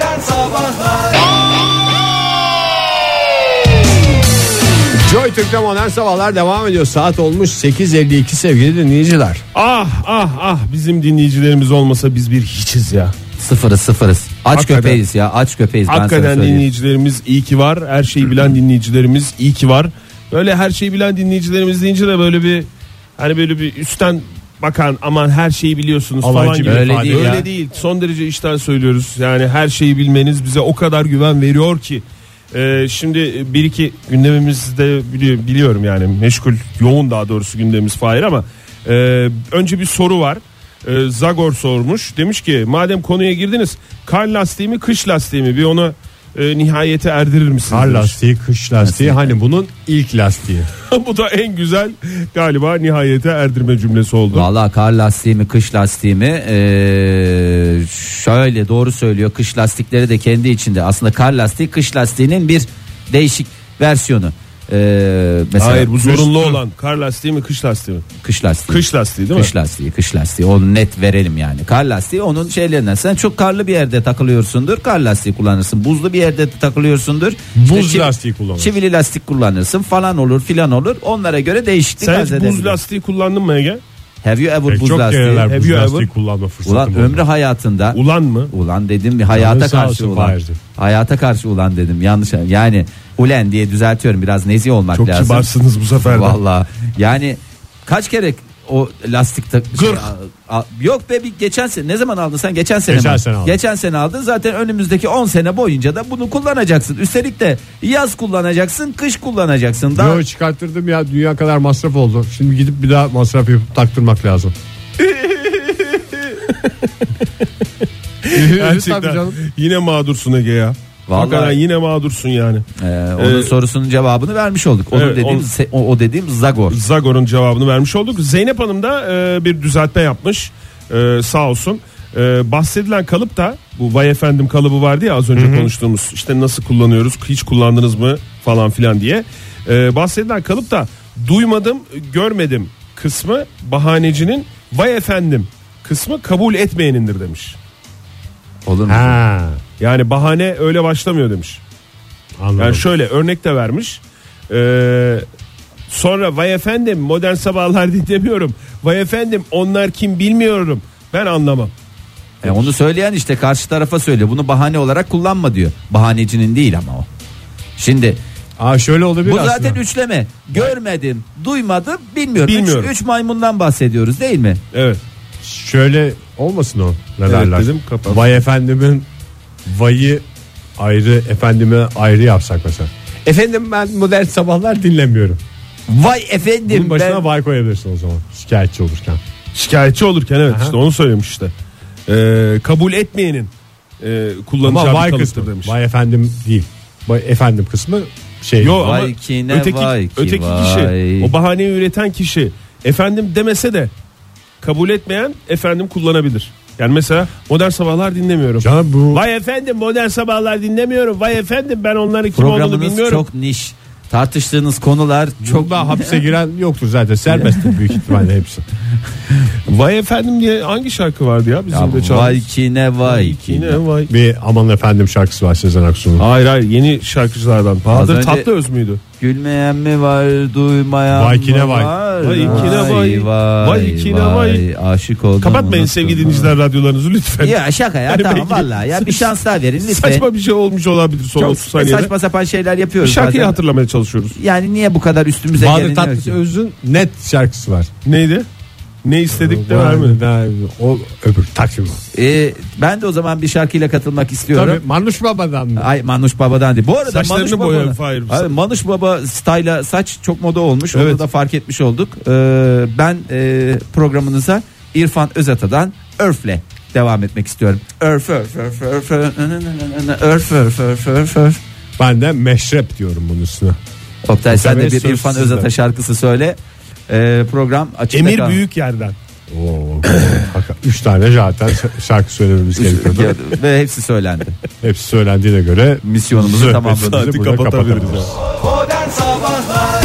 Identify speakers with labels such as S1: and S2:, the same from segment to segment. S1: Sabahlar
S2: Joy Türk'te modern sabahlar devam ediyor. Saat olmuş 8.52 sevgili dinleyiciler.
S3: Ah ah ah bizim dinleyicilerimiz olmasa biz bir hiçiz ya.
S4: Sıfırız sıfırız. Aç
S3: Hakikaten.
S4: köpeğiz ya aç köpeğiz. ben sana
S3: Hakikaten
S4: söyleyeyim.
S3: dinleyicilerimiz iyi ki var. Her şeyi bilen dinleyicilerimiz iyi ki var. Böyle her şeyi bilen dinleyicilerimiz deyince de böyle bir hani böyle bir üstten bakan aman her şeyi biliyorsunuz falan
S4: gibi
S3: gibi.
S4: öyle
S3: ifade.
S4: değil
S3: öyle
S4: ya.
S3: değil. Son derece işten söylüyoruz. Yani her şeyi bilmeniz bize o kadar güven veriyor ki. Ee, şimdi bir iki gündemimizde biliyor, biliyorum yani meşgul yoğun daha doğrusu gündemimiz Fahir ama e, önce bir soru var. E, Zagor sormuş demiş ki madem konuya girdiniz kar lastiği mi kış lastiği mi bir onu e, nihayete erdirir misiniz?
S2: Kar
S3: demiş.
S2: lastiği, kış lastiği hani bunun ilk lastiği.
S3: Bu da en güzel galiba nihayete erdirme cümlesi oldu.
S4: Valla kar lastiği mi kış lastiği mi ee, şöyle doğru söylüyor kış lastikleri de kendi içinde aslında kar lastiği kış lastiğinin bir değişik versiyonu. Ee, mesela
S3: Hayır bu zorunlu olan kar lastiği mi kış lastiği mi?
S4: kış lastiği.
S3: Kış lastiği değil mi?
S4: Kış lastiği, kış lastiği. Onu net verelim yani. Kar lastiği onun şeylerinden. Sen çok karlı bir yerde takılıyorsundur. Kar lastiği kullanırsın. Buzlu bir yerde takılıyorsundur. İşte
S2: Buz
S4: çivi-
S2: lastiği kullanırsın.
S4: Çivili lastik kullanırsın falan olur filan olur. Onlara göre değişiklik
S3: Sen
S4: arz
S3: hiç buz
S4: edebilir.
S3: lastiği kullandın mı Ege?
S4: Have you
S3: E,
S4: ever
S2: Pek
S4: buz
S2: E, çok
S4: lastiği?
S2: kereler
S3: Have
S2: buz
S3: you ever?
S2: lastiği kullanma fırsatım
S4: Ulan
S2: oldu.
S4: ömrü hayatında
S3: Ulan mı?
S4: ulan dedim bir hayata
S2: Canın sağ
S4: karşı
S2: olsun
S4: ulan.
S2: Fahir'cim.
S4: Hayata karşı ulan dedim. Yanlış yani ulen diye düzeltiyorum. Biraz nezih olmak
S3: Çok
S4: lazım.
S3: kibarsınız bu sefer de.
S4: Valla yani kaç kere o lastik tak- şey,
S3: Gırh.
S4: a- a- yok be bir geçen sene ne zaman aldın sen geçen sene
S2: Geçen
S4: mi?
S2: sene aldım.
S4: Geçen sene aldın zaten önümüzdeki 10 sene boyunca da bunu kullanacaksın. Üstelik de yaz kullanacaksın, kış kullanacaksın. Daha
S2: Yo çıkarttırdım ya dünya kadar masraf oldu. Şimdi gidip bir daha masraf yapıp taktırmak lazım. Tabii
S3: Gerçekten
S2: canım.
S3: yine mağdursun Ege ya.
S4: Vallahi.
S3: Hakikaten yine mağdursun yani.
S4: Ee, onun
S3: Ee,
S4: sorusunun cevabını vermiş olduk. Onun
S3: evet,
S4: dediğim
S3: on-
S4: se- o, o dediğim Zagor.
S3: Zagor'un cevabını vermiş olduk. Zeynep Hanım da e, bir düzeltme yapmış. E, sağ olsun. E, bahsedilen kalıp da bu vay efendim kalıbı vardı ya az önce konuştuğumuz. İşte nasıl kullanıyoruz? Hiç kullandınız mı falan filan diye. E, bahsedilen kalıp da duymadım, görmedim kısmı bahanecinin vay efendim kısmı kabul etmeyenindir demiş.
S4: Olur mu?
S2: Ha,
S3: Yani bahane öyle başlamıyor demiş.
S2: anladım.
S3: Yani şöyle örnek de vermiş. Ee, sonra vay efendim modern sabahlar dinlemiyorum. Vay efendim onlar kim bilmiyorum. Ben anlamam.
S4: E, onu söyleyen işte karşı tarafa söylüyor. Bunu bahane olarak kullanma diyor. Bahanecinin değil ama o. Şimdi
S2: Aa, şöyle olabilir
S4: bu
S2: aslında.
S4: zaten üçleme. Görmedim, duymadım, bilmiyorum.
S3: Bilmiyorum.
S4: Üç, üç maymundan bahsediyoruz değil mi?
S3: Evet.
S2: Şöyle olmasın o. Ne
S3: Evet
S2: derler?
S3: dedim, kapat.
S2: Vay efendimin vayı ayrı efendime ayrı yapsak mesela. Efendim ben modern sabahlar dinlemiyorum.
S4: Vay efendim
S2: Bunun başına
S4: E, ben
S2: vay koyabilirsin o zaman. Şikayetçi olurken.
S3: Şikayetçi olurken evet
S2: Aha.
S3: işte onu söylemiş işte. Ee, kabul etmeyenin e,
S2: Ama
S3: kullanacağı
S2: vay
S3: bir
S2: kısmı
S3: kalıptır demiş.
S2: Vay efendim değil. Vay efendim kısmı şey.
S3: Yo ama
S4: Vay ki ne
S3: öteki,
S4: vay ki
S3: öteki
S4: vay.
S3: kişi o bahaneyi üreten kişi efendim demese de kabul etmeyen efendim kullanabilir. Yani mesela modern sabahlar dinlemiyorum.
S2: Canım bu
S3: Vay efendim modern sabahlar dinlemiyorum. Vay efendim ben onları kim olduğunu
S4: programınız
S3: bilmiyorum.
S4: çok niş. Tartıştığınız konular çok
S2: çok daha hapse giren yoktur zaten. Serbesttir büyük ihtimalle hepsi.
S3: Vay efendim diye hangi şarkı vardı ya bizim
S4: Ya
S3: de
S4: vay
S3: çaldığımız?
S4: ki ne vay ki ne.
S3: Yine vay.
S2: Bir aman efendim şarkısı var Sezen Aksu'nun.
S3: Hayır hayır yeni şarkıcılardan. Bahadır
S4: önce-
S3: Tatlıöz müydü?
S4: Gülmeyen mi var duymayan
S2: Vay ki ne
S4: mı
S2: vay.
S4: var?
S3: Vay ki ne vay. Vay ki ne vay.
S4: Aşık oldum.
S3: Kapatmayın
S4: unuttum.
S3: sevgili dinleyiciler radyolarınızı lütfen.
S4: Ya şaka ya
S3: Yani
S4: tamam
S3: belki-
S4: valla ya bir şans daha verin lütfen.
S3: Saçma bir şey olmuş olabilir son
S4: Çok
S3: 30 saniyede.
S4: saçma sapan şeyler
S3: Bir
S4: yapıyoruz.
S3: şarkıyı
S4: bazen.
S3: hatırlamaya çalışıyoruz.
S4: Yani niye bu kadar üstümüze
S2: Bahadır
S4: geliniyor ki?
S2: Tatlısöz'ün net şarkısı var.
S3: Neydi? Ne istedik de vermedi.
S2: O öbür takvim.
S4: Ee, ben de o zaman bir şarkıyla katılmak istiyorum.
S2: Tabii Manuş Baba'dan mı?
S4: Ay Manuş Baba'dan değil. Bu arada
S3: Saçlarını
S4: Manuş
S3: boya,
S4: Baba'nın-
S3: Fahir.
S4: Abi, Manuş Baba style'a saç çok moda olmuş.
S3: Evet.
S4: Onu da fark etmiş olduk. Ee, ben e, programınıza İrfan Özata'dan Örf'le devam etmek istiyorum. Örf örf örf örf örf örf örf örf örf örf.
S2: Ben de meşrep diyorum bunun üstüne.
S4: Oktay sen de
S2: sefer
S4: bir
S2: söz
S4: İrfan
S2: sizde.
S4: Özata şarkısı söyle. Ee, program açıkta
S3: Emir
S4: kal-
S3: Büyük Yerden.
S2: Oo, hakikaten. Üç tane zaten şarkı söylememiz gerekiyordu.
S4: Ve hepsi söylendi.
S2: Hepsi söylendiğine göre
S4: Misyonumuzu
S2: söhbetimizi
S4: tamamladık.
S2: burada
S3: Saati kapatabiliriz.
S1: Modern Sabahlar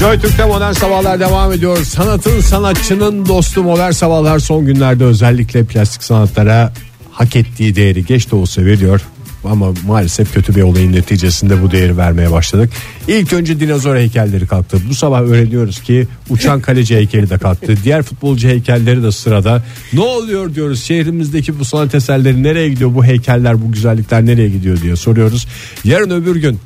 S2: Joy Türk'te modern sabahlar devam ediyor. Sanatın sanatçının dostu modern sabahlar son günlerde özellikle plastik sanatlara
S5: hak ettiği değeri geç de olsa veriyor. Ama maalesef kötü bir olayın neticesinde bu değeri vermeye başladık. İlk önce dinozor heykelleri kalktı. Bu sabah öğreniyoruz ki uçan kaleci heykeli de kalktı. Diğer futbolcu heykelleri de sırada. Ne oluyor diyoruz şehrimizdeki bu sanat eserleri nereye gidiyor bu heykeller bu güzellikler nereye gidiyor diye soruyoruz. Yarın öbür gün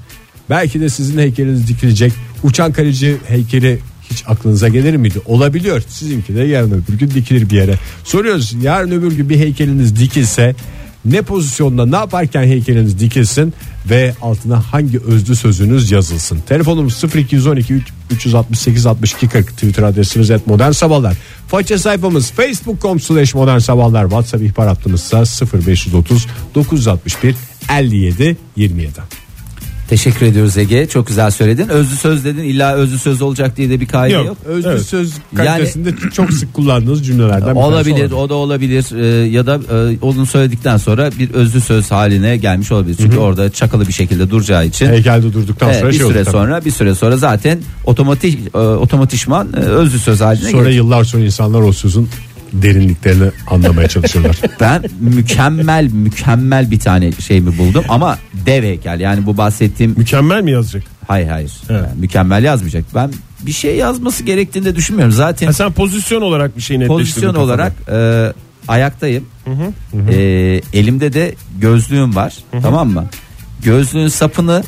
S5: belki de sizin heykeliniz dikilecek. Uçan kaleci heykeli hiç aklınıza gelir miydi? Olabiliyor. Sizinki de yarın öbür gün dikilir bir yere. Soruyoruz yarın öbür gün bir heykeliniz dikilse ne pozisyonda ne yaparken heykeliniz dikilsin ve altına hangi özlü sözünüz yazılsın. Telefonumuz 0212 3- 368 62 40 Twitter adresimiz et modern sabahlar. Faça sayfamız facebook.com slash modern sabahlar. Whatsapp ihbar hattımızsa 0530 961 57 27.
S4: Teşekkür ediyoruz Ege. Çok güzel söyledin. Özlü söz dedin. İlla özlü söz olacak diye de bir kaide yok.
S3: Yok.
S5: Özlü
S3: Evet.
S5: söz kalitesinde çok sık kullandığınız cümlelerden bir tanesi
S4: Olabilir, o da olabilir Ee, ya da e, onun söyledikten sonra bir özlü söz haline gelmiş olabilir. Çünkü orada çakalı bir şekilde duracağı için
S5: Heykelde durduktan
S4: Evet,
S5: sonra
S4: bir
S5: şey oldu
S4: süre
S5: tabii.
S4: sonra bir süre sonra zaten otomatik e, otomatikman e, özlü söz haline
S5: Sonra
S4: gelir.
S5: yıllar sonra insanlar o sözün derinliklerini anlamaya çalışıyorlar.
S4: Ben mükemmel mükemmel bir tane şeyimi buldum ama dev heykel yani bu bahsettiğim
S3: Mükemmel mi yazacak?
S4: hayır hayır
S3: Evet.
S4: Yani mükemmel yazmayacak. Ben bir şey yazması gerektiğini de düşünmüyorum zaten.
S3: Ha, sen pozisyon olarak bir şey netleştirdin.
S4: pozisyon
S3: kafanda.
S4: olarak e, ayaktayım. E, elimde de gözlüğüm var. Tamam mı? Gözlüğün sapını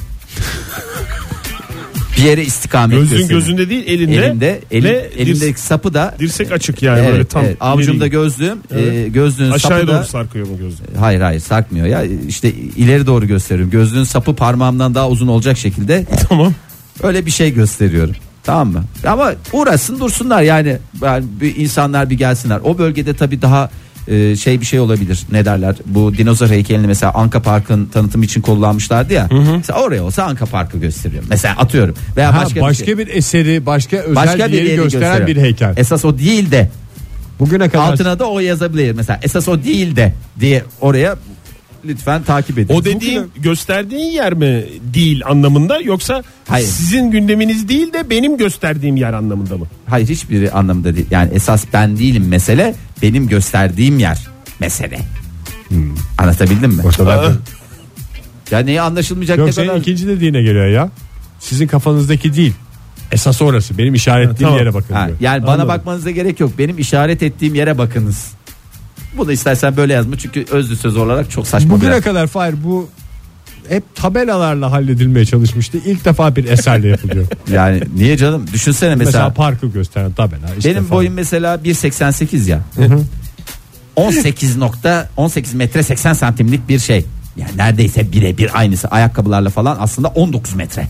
S4: bir yere istikamet
S3: Gözün
S4: gösteriyorum.
S3: gözünde değil elinde.
S4: elimde elim,
S3: ve
S4: elimdeki
S3: dirs-
S4: sapı da
S3: dirsek açık yani
S4: evet,
S3: böyle tam.
S4: evet, avcumda
S3: ileri-
S4: gözlüğüm,
S3: Evet.
S4: e, gözlüğün
S3: Aşağıya
S4: sapı
S3: doğru
S4: da
S3: sarkıyor mu gözün?
S4: hayır hayır sarkmıyor ya. İşte ileri doğru gösteriyorum. Gözlüğün sapı parmağımdan daha uzun olacak şekilde
S3: Tamam.
S4: Öyle bir şey gösteriyorum. Tamam mı? Ama uğraşsın dursunlar yani. yani bir insanlar bir gelsinler. O bölgede tabii daha e, şey bir şey olabilir. Ne derler? Bu dinozor heykelini mesela Anka Park'ın tanıtım için kullanmışlardı ya. Mesela oraya olsa Anka Park'ı gösteriyorum. Mesela atıyorum. Veya
S5: Ha,
S4: başka,
S5: başka,
S4: bir şey.
S5: bir eseri, başka özel
S4: Başka
S5: bir yeri gösteren
S4: gösteriyorum.
S5: bir heykel.
S4: Esas o değil de
S5: Bugüne kadar
S4: altına da o yazabilir. Mesela esas o değil de diye oraya lütfen takip edin.
S3: O dediğin gösterdiğin yer mi değil anlamında yoksa
S4: Hayır.
S3: sizin gündeminiz değil de benim gösterdiğim yer anlamında mı?
S4: Hayır hiçbiri anlamda değil. Yani esas ben değilim mesele benim gösterdiğim yer mesele.
S5: Hmm.
S4: Anlatabildim mi?
S5: ortalarda.
S4: Ya neyi anlaşılmayacak
S5: Yok
S4: ne
S5: senin
S4: kadar?
S5: ikinci dediğine geliyor ya. Sizin kafanızdaki değil. Esas orası. Benim işaretlediğim
S3: tamam.
S5: yere bakın
S4: Ha,
S5: diyor.
S4: yani bana
S5: Anladım.
S4: bakmanıza gerek yok. Benim işaret ettiğim yere bakınız. Bunu istersen böyle yazma çünkü özlü söz olarak çok saçma.
S5: Bugüne
S4: biraz.
S5: kadar Fahir bu hep tabelalarla halledilmeye çalışmıştı. İlk defa bir eserle yapılıyor. mesela,
S4: Yani niye canım? Düşünsene mesela,
S5: parkı gösteren tabela. işte
S4: benim
S5: falan.
S4: boyum mesela 1.88 ya. 18 nokta 18 metre 80 santimlik bir şey. Yani neredeyse birebir aynısı ayakkabılarla falan aslında 19 metre.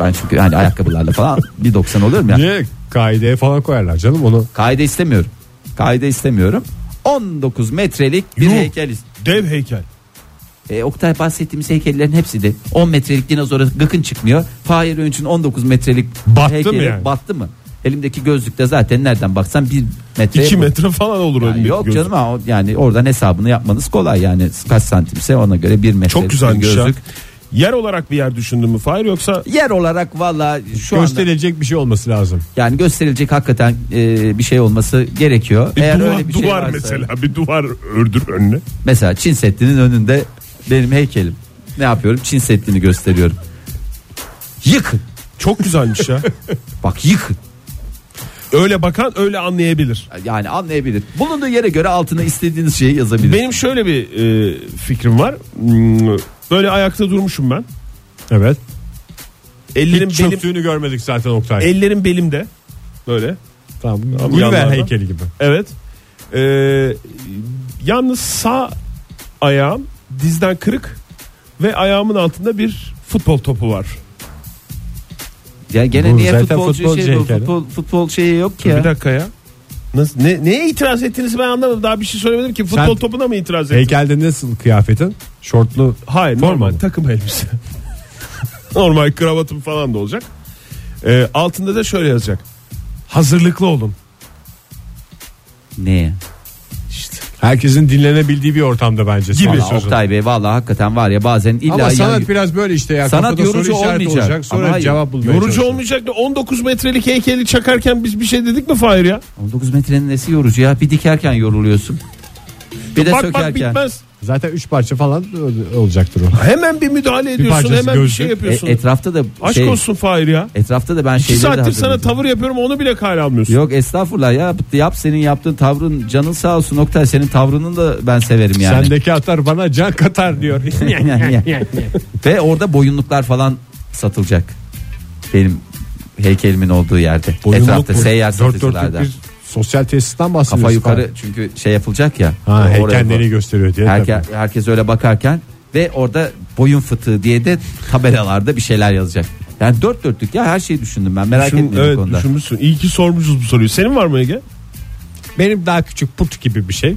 S4: Ben çünkü hani ayakkabılarla falan 1.90 oluyorum ya.
S5: Niye kaideye falan koyarlar canım onu.
S4: Kaide istemiyorum. Kaide istemiyorum. 19 metrelik bir
S3: Yuh.
S4: heykel. ist-
S3: Dev heykel.
S4: E, Oktay bahsettiğimiz heykellerin hepsi de 10 metrelik dinozora gıkın çıkmıyor. Fahir Öğünç'ün 19 metrelik
S5: Battı
S4: heykeli
S5: mı yani?
S4: battı mı? Elimdeki gözlükte zaten nereden baksan 1 metre.
S3: 2 metre falan olur
S4: Yani
S3: önündeki
S4: yok
S3: gözlük.
S4: canım ama o- yani oradan hesabını yapmanız kolay yani kaç santimse ona göre bir metre
S3: Çok güzelmiş
S4: gözlük.
S3: ya. Yer olarak bir yer düşündün mü Fahir yoksa
S4: Yer olarak valla şu anda
S5: Gösterilecek bir şey olması lazım.
S4: yani gösterilecek hakikaten e, bir şey olması gerekiyor.
S3: bir
S4: Eğer
S3: duvar,
S4: öyle bir şey
S3: duvar
S4: varsa,
S3: mesela bir duvar ördür önüne.
S4: Mesela Çin Seddi'nin önünde benim heykelim. Ne yapıyorum? Çin Seddi'ni gösteriyorum. Yıkın.
S3: Çok güzelmiş ya.
S4: Bak yıkın.
S3: öyle bakan öyle anlayabilir.
S4: Yani anlayabilir. Bulunduğu yere göre altına istediğiniz şeyi yazabilir.
S3: Benim şöyle bir e, fikrim var. Hmm, Böyle ayakta durmuşum ben.
S5: Evet.
S3: Ellerim
S5: Hiç
S3: belim,
S5: çöktüğünü görmedik zaten Oktay.
S4: E-
S3: ellerim belimde. Böyle.
S5: Tamam. Gulliver
S3: yanlarda.
S5: heykeli gibi.
S3: Evet. Ee, yalnız sağ ayağım dizden kırık ve ayağımın altında bir futbol topu var.
S4: ya gene
S5: Bu
S4: niye
S5: zaten
S4: futbolcu
S5: futbolcu
S4: şey,
S5: heykeli.
S4: futbol, futbol şeyi yok ki
S3: Dur
S4: ya.
S3: Bir dakika ya. Nasıl, ne, neye itiraz ettiniz ben anlamadım. Daha bir şey söylemedim ki. Futbol
S5: Sen-
S3: topuna mı itiraz ettiniz?
S5: Heykelde nasıl kıyafetin? Şortlu.
S3: Hayır
S5: Forma
S3: normal
S5: mı?
S3: takım elbise. normal kravatım falan da olacak. Ee, altında da şöyle yazacak. Hazırlıklı olun.
S4: Ne?
S5: Herkesin dinlenebildiği bir ortamda bence.
S3: Gibi.
S5: Sanat.
S4: Vallahi Oktay Bey vallahi hakikaten var ya bazen illa
S5: Ama
S4: yan-
S5: sanat biraz böyle işte ya.
S4: Sanat
S5: Kafada
S4: yorucu
S5: soru işareti
S4: olmayacak.
S5: olacak. Sonra
S4: Ama hayır.
S5: cevap bulmaya
S3: Yorucu
S5: çalışıyor.
S3: olmayacak da 19 metrelik heykeli çakarken biz bir şey dedik mi Fahir ya?
S4: 19 metrenin nesi yorucu ya? Bir dikerken yoruluyorsun. Bir de
S3: bak bak
S4: sökerken. E,
S3: bitmez.
S5: Zaten 3 parça falan ö- olacaktır o.
S3: Hemen bir müdahale ediyorsun
S5: parçası
S3: hemen bir
S5: gözlük.
S3: şey yapıyorsun.
S4: E, etrafta da
S3: Aşk
S4: şey,
S3: olsun Fahir ya.
S4: etrafta da ben
S3: İki
S4: şeyleri de
S3: saattir sana
S4: hazırladım.
S3: tavır yapıyorum onu bile kale almıyorsun.
S4: Yok estağfurullah ya yap senin yaptığın tavrın canın sağ olsun Oktay senin tavrının da ben severim yani.
S5: Sendeki atar bana can katar diyor.
S4: Ve orada boyunluklar falan satılacak. Benim heykelimin olduğu yerde. Etrafta
S5: bu.
S4: seyyar
S5: Dört dörtlük
S4: satıcılardan.
S5: bir sosyal tesisten bahsediyoruz.
S4: Kafa yukarı çünkü şey yapılacak ya.
S5: Ha,
S4: Oraya
S5: heykel
S4: bak.
S5: nereyi gösteriyor diye.
S4: Herke,
S5: tabii.
S4: herkes öyle bakarken ve orada boyun fıtığı diye de tabelalarda bir şeyler yazacak. Yani dört dörtlük ya her şeyi düşündüm ben merak
S3: Düşün-
S4: etmeyin bu
S3: evet,
S4: konuda.
S3: düşünmüşsün. İyi ki sormuşuz bu soruyu. Senin var mı Ege?
S5: Benim daha küçük put gibi bir şey.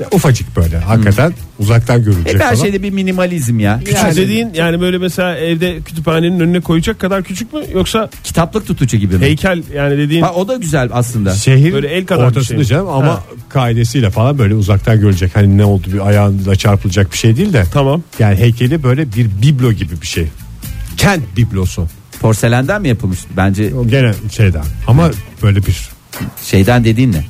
S5: Ya, ufacık böyle hakikaten uzaktan görülecek
S4: Hep E, her
S5: falan.
S4: şeyde bir minimalizm ya.
S3: Küçük dediğin yani böyle mesela evde kütüphanenin önüne koyacak kadar küçük mü yoksa
S4: Kitaplık tutucu gibi mi?
S3: heykel yani dediğin
S4: Ha, o da güzel aslında.
S5: Şehir
S3: Böyle el kadar bir
S5: ortasında
S3: şey mi?
S5: canım ama
S3: Ha.
S5: kaidesiyle falan böyle uzaktan görecek. Hani ne oldu bir ayağında çarpılacak bir şey değil de.
S3: tamam.
S5: Yani heykeli böyle bir biblo gibi bir şey. Kent biblosu.
S4: Porselenden mi yapılmış? Bence
S5: O gene şeyden ama böyle bir
S4: şeyden dediğin ne?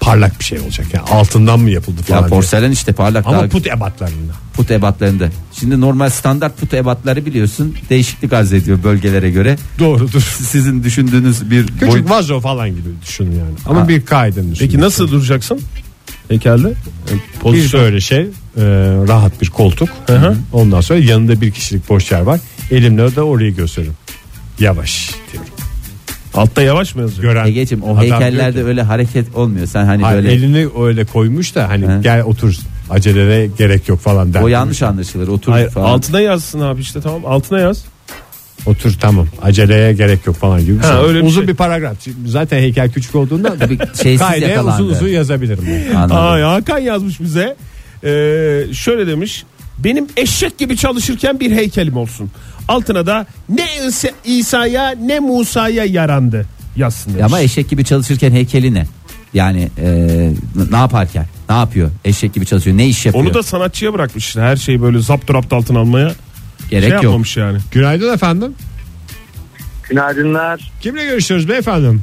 S5: parlak bir şey olacak. Yani altından mı yapıldı
S4: Ya
S5: falan. diye.
S4: porselen işte parlak
S5: Ama
S4: daha
S5: put ebatlarında.
S4: put ebatlarında. Şimdi normal standart put ebatları biliyorsun değişiklik arz ediyor bölgelere göre.
S5: Doğrudur.
S4: Sizin düşündüğünüz bir
S5: Küçük
S4: boyut-
S5: vazo falan gibi düşün yani. Ama
S4: Ha.
S5: bir kaydın düşün.
S3: Peki nasıl duracaksın? Heykelde.
S5: bir
S3: Pozisyon.
S5: böyle şey e, rahat bir koltuk.
S3: hı.
S5: Ondan sonra yanında bir kişilik boş yer var. Elimle de orayı gösteririm. Yavaş diyorum.
S3: Altta yavaş mı yazıyor?
S5: Gören
S4: Egeciğim o
S5: adam diyor
S4: heykellerde
S5: ki,
S4: öyle hareket olmuyor. Sen hani
S5: "Hayır,
S4: böyle
S5: elini öyle koymuş da hani
S4: He.
S5: gel otur acelere gerek yok falan der.
S4: o yanlış anlaşılır. Otur
S3: Hayır
S4: falan.
S3: altına yazsın abi işte tamam altına yaz.
S5: Otur tamam aceleye gerek yok falan gibi. bir
S3: Ha,
S5: şey.
S3: öyle bir
S5: uzun
S3: şey.
S5: bir paragraf. Şimdi Zaten heykel küçük olduğundan
S4: Tabii şeysiz
S5: kaydeye
S4: yakalandı.
S5: uzun uzun yazabilirim. ben.
S4: Anladım.
S3: Ay Hakan yazmış bize. Ee, şöyle demiş. Benim eşek gibi çalışırken bir heykelim olsun. Altına da ne İsa- İsa'ya ne Musa'ya yarandı yazsın demiş.
S4: Ama eşek gibi çalışırken heykeli ne? Yani e, n- ne yaparken? Ne yapıyor? Eşek gibi çalışıyor. Ne iş yapıyor?
S3: Onu da sanatçıya bırakmış. Her şeyi böyle zapt rapt altına almaya
S4: gerek
S3: şey
S4: yok.
S3: yapmamış yani.
S5: Günaydın efendim.
S6: Günaydınlar.
S5: Kimle görüşüyoruz beyefendim?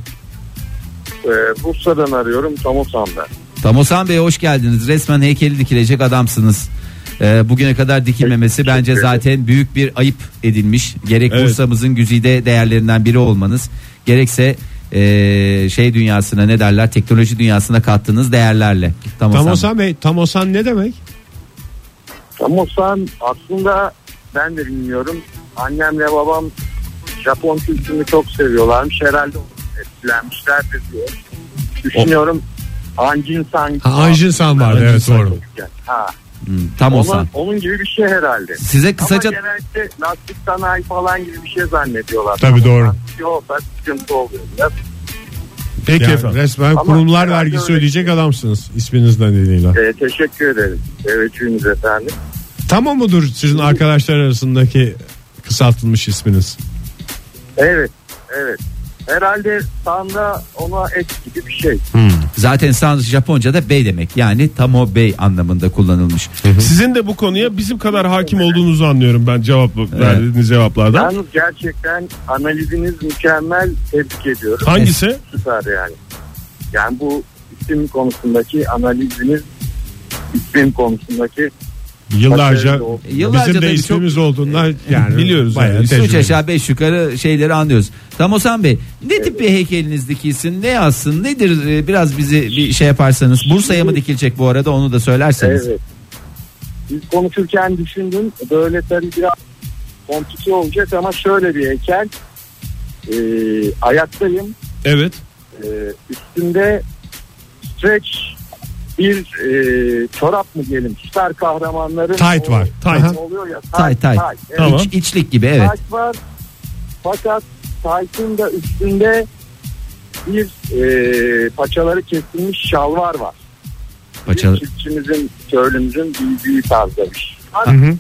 S6: Ee, Bursa'dan arıyorum. Tamosan ben.
S4: Tamosan Bey hoş geldiniz. Resmen heykeli dikilecek adamsınız. Ee, bugüne kadar dikilmemesi bence zaten büyük bir ayıp edilmiş. Gerek
S3: Evet.
S4: Bursa'mızın güzide değerlerinden biri olmanız, gerekse eee, şey dünyasına ne derler teknoloji dünyasına kattığınız değerlerle. Tamosan Bey.
S5: Tamosan Bey. Tamosan ne demek?
S6: Tamosan aslında ben de bilmiyorum. Annemle babam Japon kültürünü çok seviyorlarmış. Herhalde etkilenmişlerdir diye. Düşünüyorum. Anjin San.
S5: Ha, Anjin San vardı,
S6: Anjin
S5: evet,
S6: San
S5: doğru.
S6: çocukken. Ha,
S4: Hmm, Tamosan.
S6: onun, onun gibi bir şey herhalde.
S4: Size kısaca
S6: Ama genellikle lastik sanayi falan gibi bir şey zannediyorlar.
S5: Tabii, doğru.
S6: Yok ben sıkıntı oluyor. biraz.
S5: Peki
S3: Yani
S5: efendim. Resmen kurumlar
S6: kurumlar vergisi
S5: vergisi ödeyecek adamsınız isminiz nedeniyle.
S6: şey. Ee, teşekkür ederim. Evet Cüneyt efendim.
S5: Tamam mıdır sizin arkadaşlar arasındaki kısaltılmış isminiz?
S6: Evet, evet. Herhalde sanda ona et gibi bir şey.
S4: zaten san Japonca'da bey demek. Yani Tamo Bey anlamında kullanılmış.
S3: Sizin de bu konuya bizim kadar hakim olduğunuzu anlıyorum ben cevap verdiğiniz cevaplardan.
S6: Yalnız gerçekten analiziniz mükemmel. Tebrik ediyorum.
S3: Hangisi?
S6: Süper yani. Yani bu isim konusundaki analiziniz isim konusundaki
S5: Yıllarca,
S6: başarılı oldu.
S4: Yıllarca
S5: bizim de
S4: tabii çok-
S5: ismimiz olduğundan yani
S3: Biliyoruz
S5: bayağı
S3: yani.
S4: Üç
S5: tecrübeli.
S4: aşağı beş yukarı şeyleri anlıyoruz. Tamosan Bey ne tip bir heykeliniz dikilsin ne yazsın nedir Ee, biraz bizi bir şey yaparsanız. Bursa'ya mı dikilecek bu arada onu da söylerseniz.
S6: Evet. Biz konuşurken düşündüm. Böyle tabii biraz komplike olacak ama şöyle bir heykel. Ee, ayaktayım.
S3: Evet.
S6: Ee, üstünde stretch bir e, çorap mı diyelim süper kahramanların
S5: Tight
S6: o-
S5: var, tight.
S6: oluyor ya tight
S4: Tay tay.
S6: evet.
S3: Tamam.
S4: İç, içlik gibi evet.
S6: Tight var fakat tight'ın da üstünde bir e, paçaları kesilmiş şalvar var
S4: Paçalı.
S6: bir çiftçimizin köylümüzün giydiği tarzda bir şey var.
S5: Hı hı.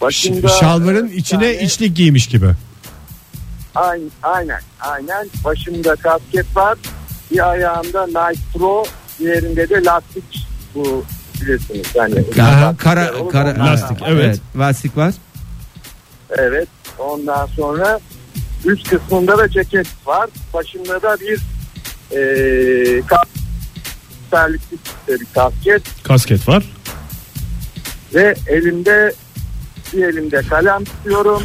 S6: Başında
S5: Şalvarın
S6: bir
S5: içine
S6: tane-
S5: içlik giymiş gibi.
S6: Aynen, aynen, aynen. Başımda kasket var. Bir ayağımda Nike Pro, diğerinde de lastik bu bilirsiniz. Yani
S4: Aha, kara
S6: Lastik.
S4: kara
S3: Lastik,
S4: Aha,
S3: evet.
S4: Lastik var.
S6: Evet. Ondan sonra üst kısmında da ceket var. Başımda da bir eee terlikli işte bir kasket
S3: Kasket var.
S6: ve elimde bir elimde kalem tutuyorum.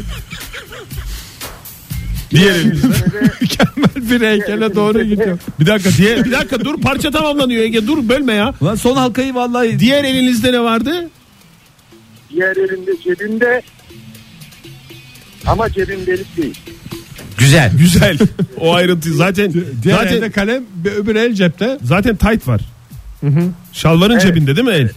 S3: Diğer elinizde.
S6: Ve
S3: Mükemmel bir heykele doğru gidiyor. Bir dakika diye bir dakika dur parça tamamlanıyor Ege dur bölme ya.
S4: Ulan son halkayı vallahi
S3: Diğer elinizde ne vardı?
S6: diğer elimde cebimde ama cebim delik değil.
S4: güzel.
S3: Güzel. o ayrıntı zaten
S5: Diğer
S3: zaten
S5: elde kalem bir öbür el cepte.
S3: zaten tight var. Şalvarın
S6: Evet.
S3: cebinde değil mi el?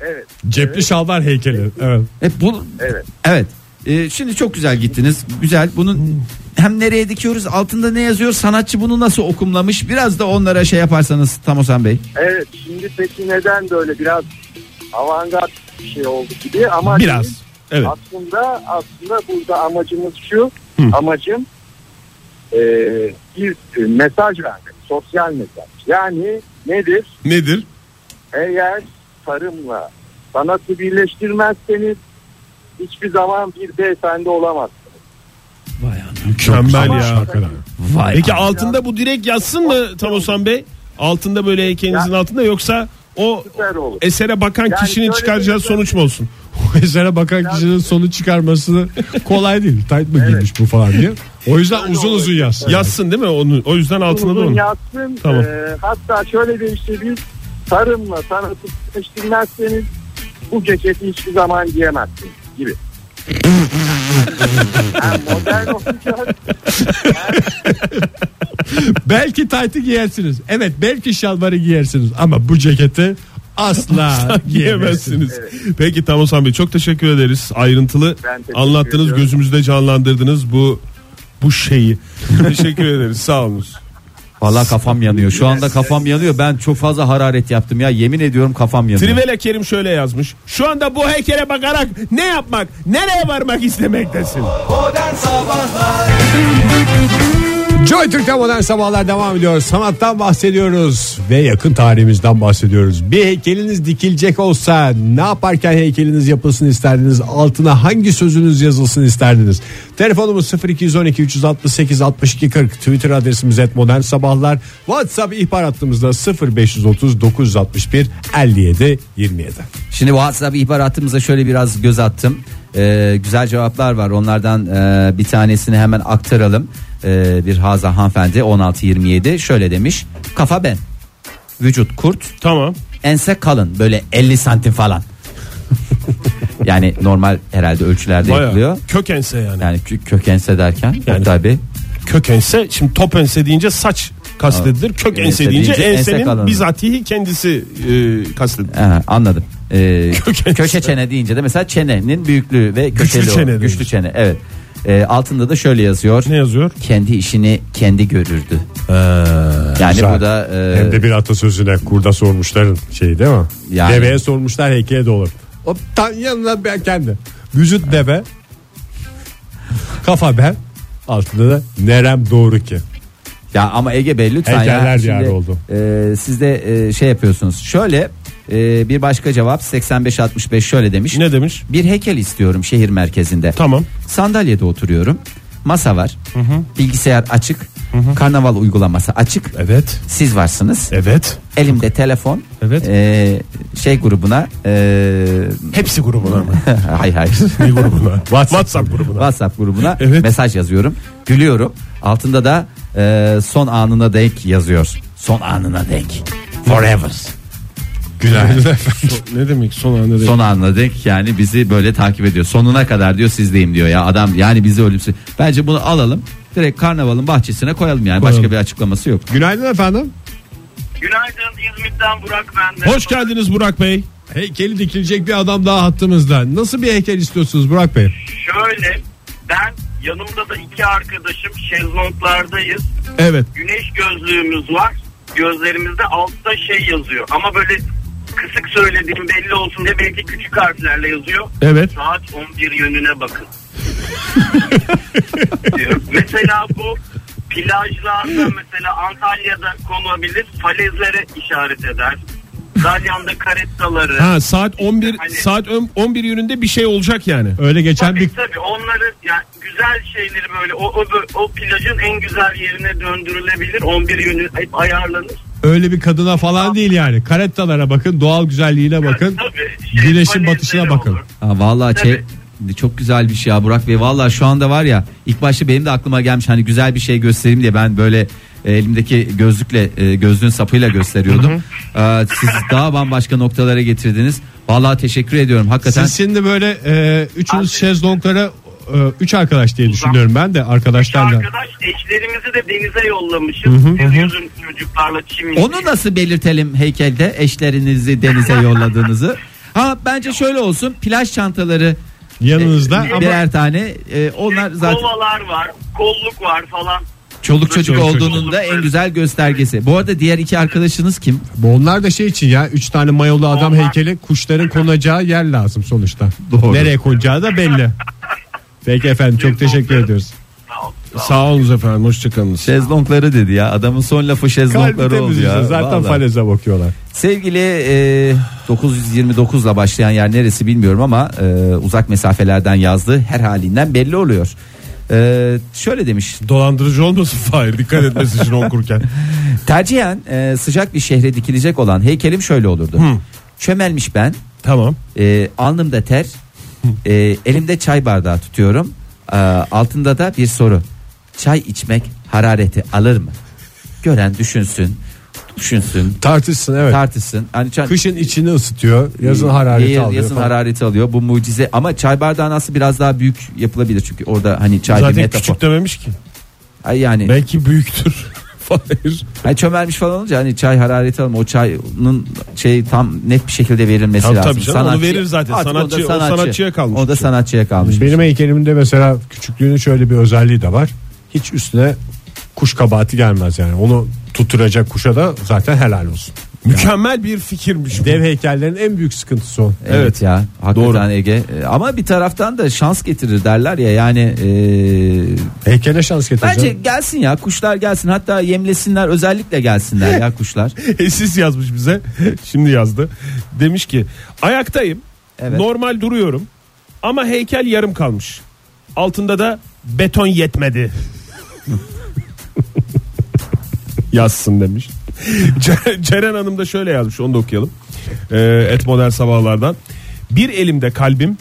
S6: Evet.
S5: Cepli şalvar heykeli. Evet.
S4: Hep E, bu
S6: Evet.
S4: Evet. Ee, şimdi çok güzel gittiniz. Güzel. Bunun hem nereye dikiyoruz, altında ne yazıyor, sanatçı bunu nasıl okumlamış? Biraz da onlara şey yaparsanız Tamosan Bey.
S6: Evet. Şimdi peki neden böyle biraz avantgard bir şey oldu gibi ama
S3: Biraz.
S6: değil.
S3: Evet.
S6: aslında aslında burada amacımız şu. Amacım e, bir e, mesaj vermek. Sosyal mesaj. Yani nedir?
S3: Nedir?
S6: Eğer tarımla sanatı birleştirmezseniz hiçbir zaman bir beyefendi olamazsınız.
S3: Mükemmel
S6: Ama-
S3: ya.
S4: Vay.
S3: Peki
S4: am-
S3: altında bu direkt yazsın mı Tamosan Bey? Altında böyle heykelinizin altında yoksa o
S6: Süper olur.
S3: esere bakan
S6: Yani
S3: kişinin
S6: şöyle
S3: çıkaracağı
S6: bir-
S3: sonuç mu olsun?
S5: Esere bakan kişinin sonu çıkarması kolay değil. Tayt mı giymiş bu falan diye. O yüzden uzun uzun yaz.
S3: Yazsın değil mi onu? O yüzden altına da
S6: Uzun
S3: onu.
S6: yazsın.
S3: Tamam.
S6: E, hatta şöyle bir işte bir tarımla sanatı birleştirmezseniz bu ceketi hiçbir zaman giyemezsiniz gibi. Hem modern olacak
S5: Belki taytı giyersiniz. Evet belki şalvarı giyersiniz. Ama bu ceketi asla giyemezsiniz.
S3: Yiyemezsiniz. Peki Tamosan Bey çok teşekkür ederiz. Ayrıntılı
S6: Ben teşekkür
S3: anlattınız,
S6: ediyorum.
S3: gözümüzde canlandırdınız bu bu şeyi. teşekkür ederiz. Sağ olunuz.
S4: Vallahi kafam yanıyor. Şu anda kafam yanıyor. Ben çok fazla hararet yaptım ya. Yemin ediyorum kafam yanıyor.
S3: Trivela Kerim şöyle yazmış. Şu anda bu heykele bakarak ne yapmak, nereye varmak istemektesin?
S1: Modern Sabahlar
S5: Joy Türk'te modern sabahlar devam ediyor. Sanattan bahsediyoruz ve yakın tarihimizden bahsediyoruz. Bir heykeliniz dikilecek olsa ne yaparken heykeliniz yapılsın isterdiniz? Altına hangi sözünüz yazılsın isterdiniz? Telefonumuz 0212 368 62 40. Twitter adresimiz et modern sabahlar. WhatsApp ihbar hattımızda 0530 961 57 27.
S4: Şimdi WhatsApp ihbar hattımıza şöyle biraz göz attım. Ee, güzel cevaplar var. Onlardan e, bir tanesini hemen aktaralım. Ee, bir Haza hanımefendi 1627 şöyle demiş. Kafa ben. Vücut kurt,
S3: Tamam.
S4: ense kalın böyle 50 santim falan. yani normal herhalde ölçülerde yapılıyor.
S3: Bayağı. Kökense yani.
S4: Yani kö- kökense derken yani. tabi
S3: Kökense şimdi top ense deyince saç kastedilir. Kök
S4: Ense
S3: ense deyince
S4: deyince ense
S3: ensenin
S4: kalanı.
S3: bizatihi kendisi e, kastedilir.
S4: Aha, anladım. Ee,
S3: Kökense.
S4: köşe çene deyince de mesela çenenin büyüklüğü ve köşeli o-
S3: çene
S4: güçlü
S3: demiş.
S4: çene evet. Ee, altında da şöyle yazıyor.
S3: Ne yazıyor?
S4: Kendi işini kendi görürdü. yani
S5: güzel.
S4: bu da e,
S5: Hem de bir atasözüne kurda sormuşların şeyi değil mi?
S4: Yani.
S5: Deveye sormuşlar heykele de olur. O tam yanına ben kendi. Vücut deve. Kafa ben. Altında da nerem doğru ki.
S4: ya ama Ege Bey lütfen
S5: Heykeller
S4: ya.
S5: diyarı oldu.
S4: e, siz de e, şey yapıyorsunuz. Şöyle e, bir başka cevap 85 65 şöyle demiş.
S3: Ne demiş?
S4: Bir heykel istiyorum şehir merkezinde.
S3: Tamam.
S4: Sandalyede oturuyorum. Masa var. Bilgisayar açık. Karnaval uygulaması açık.
S3: Evet.
S4: Siz varsınız.
S3: Evet.
S4: Elimde telefon.
S3: Evet.
S4: E, şey grubuna e,
S3: Hepsi grubuna mı?
S4: hayır hayır.
S3: ne grubuna? WhatsApp, grubuna.
S4: WhatsApp grubuna
S3: Evet.
S4: mesaj yazıyorum. Gülüyorum. Altında da e, son anına denk yazıyor. Son anına denk. Forever.
S5: Günaydın.
S3: So- ne demek son anda
S4: Son anına denk yani bizi böyle takip ediyor. Sonuna kadar diyor sizdeyim diyor ya adam yani bizi ölümsüz. Bence bunu alalım. Direkt karnavalın bahçesine koyalım yani. Başka bir açıklaması yok.
S5: Günaydın efendim.
S7: Günaydın İzmit'ten Burak ben de.
S3: Hoş geldiniz Burak Bey.
S5: Heykeli dikilecek bir adam daha hattımızda. Nasıl bir heykel istiyorsunuz Burak Bey?
S7: Şöyle ben yanımda da iki arkadaşım şezlonglardayız.
S5: Evet.
S7: Güneş gözlüğümüz var. Gözlerimizde altta şey yazıyor. Ama böyle kısık söylediğim belli olsun diye belki küçük harflerle yazıyor.
S3: Evet.
S7: Saat 11 yönüne bakın. Diyor. mesela bu plajlarda mesela Antalya'da konulabilir. Falezlere işaret eder. Dalyan'da karettaları.
S3: Ha saat 11
S7: Hani-
S3: saat ön- 11 yönünde bir şey olacak yani.
S5: Öyle geçen
S7: Tabii
S5: bir
S7: tabii onları yani güzel şeyleri böyle o, o, o plajın en güzel yerine döndürülebilir. 11 yönü hep ayarlanır.
S5: Öyle bir kadına falan değil yani. Karettalara bakın, doğal güzelliğine bakın.
S7: Tabii, şey,
S5: Güneşin
S7: valizleri
S5: batışına bakın.
S7: olur.
S4: Ha, vallahi şey, çok güzel bir şey ya Burak Bey. Vallahi şu anda var ya ilk başta benim de aklıma gelmiş hani güzel bir şey göstereyim diye ben böyle e, elimdeki gözlükle e, gözlüğün sapıyla gösteriyordum. Ee, siz daha bambaşka noktalara getirdiniz. Vallahi teşekkür ediyorum hakikaten.
S5: Siz şimdi böyle e, üçünüz şezlonglara e, üç arkadaş diye düşünüyorum ben de arkadaşlarla.
S7: Arkadaş eşlerimizi de denize yollamışız. Siz yüzün çocuklarla çimin.
S4: Onu nasıl belirtelim heykelde eşlerinizi denize yolladığınızı? Ha bence şöyle olsun plaj çantaları
S5: Yanınızda
S7: Ee,
S4: e, birer tane e, onlar zaten
S7: Kovalar var, kolluk var falan.
S4: çoluk çocuk
S5: Çoluk
S4: olduğunun da en güzel göstergesi. Bu arada diğer iki arkadaşınız kim?
S5: Onlar da şey için ya üç tane mayolu adam
S7: Onlar-
S5: heykeli kuşların konacağı yer lazım sonuçta.
S4: Doğru.
S5: Nereye konacağı da belli. Peki efendim çok teşekkür ediyoruz.
S7: Sağ ol.
S3: Sağ olun efendim hoşçakalın.
S4: Şezlongları dedi ya. Adamın son lafı
S5: Kalbi
S4: şezlongları oldu ya.
S5: temizliyoruz zaten
S4: Vallahi.
S5: faleze bakıyorlar.
S4: Sevgili e, 929'la başlayan yer neresi bilmiyorum ama e, uzak mesafelerden yazdığı her halinden belli oluyor. E, şöyle demiş
S3: Dolandırıcı olmasın Fahir dikkat etmesin şimdi okurken.
S4: Tercihen e, sıcak bir şehre dikilecek olan heykelim şöyle olurdu. Çömelmiş ben,
S3: Tamam.
S4: e, alnımda ter, e, elimde çay bardağı tutuyorum. E, altında da bir soru. Çay içmek harareti alır mı? Gören düşünsün, düşünsün,
S5: Tartışsın evet.
S4: tartışsın. Hani çay-
S5: Kışın içini ısıtıyor, yazın
S4: e,
S5: harareti
S4: yayın-
S5: alıyor.
S4: Yazın
S5: falan.
S4: harareti alıyor. Bu mucize ama çay bardağı nasıl biraz daha büyük yapılabilir çünkü orada hani çay bir
S3: Zaten
S4: metafor.
S3: küçük dememiş ki.
S4: Ay yani
S3: Belki büyüktür. Fahir.
S4: Hani çömelmiş falan olunca hani çay harareti alma o çayın şey tam net bir şekilde verilmesi
S3: Tabii,
S4: lazım.
S3: tabii canım, onu verir zaten.
S4: Artık
S3: Sanatçı-
S4: o da
S3: o sanatçıya kalmış
S4: O da
S3: bir şey.
S4: sanatçıya kalmış.
S5: Benim heykelimde mesela küçüklüğünün şöyle bir özelliği de var. Hiç üstüne kuş kabahati gelmez yani. Onu tutturacak kuşa da zaten helal olsun.
S3: Mükemmel bir fikirmiş. bu.
S5: Dev heykellerin en büyük sıkıntısı o.
S4: Evet,
S3: Evet.
S4: ya hakikaten Ege E, ama bir taraftan da şans getirir derler ya yani e,
S5: Heykele şans getirecek.
S4: bence gelsin ya kuşlar gelsin hatta yemlesinler özellikle gelsinler ya kuşlar.
S3: Esis E, yazmış bize. Şimdi yazdı. Demiş ki ayaktayım.
S4: Evet.
S3: Normal duruyorum. Ama heykel yarım kalmış. Altında da beton yetmedi. Yazsın demiş. Ce- Ceren Hanım da şöyle yazmış onu da okuyalım. Ee, Et Modern Sabahlardan. Bir elimde kalbim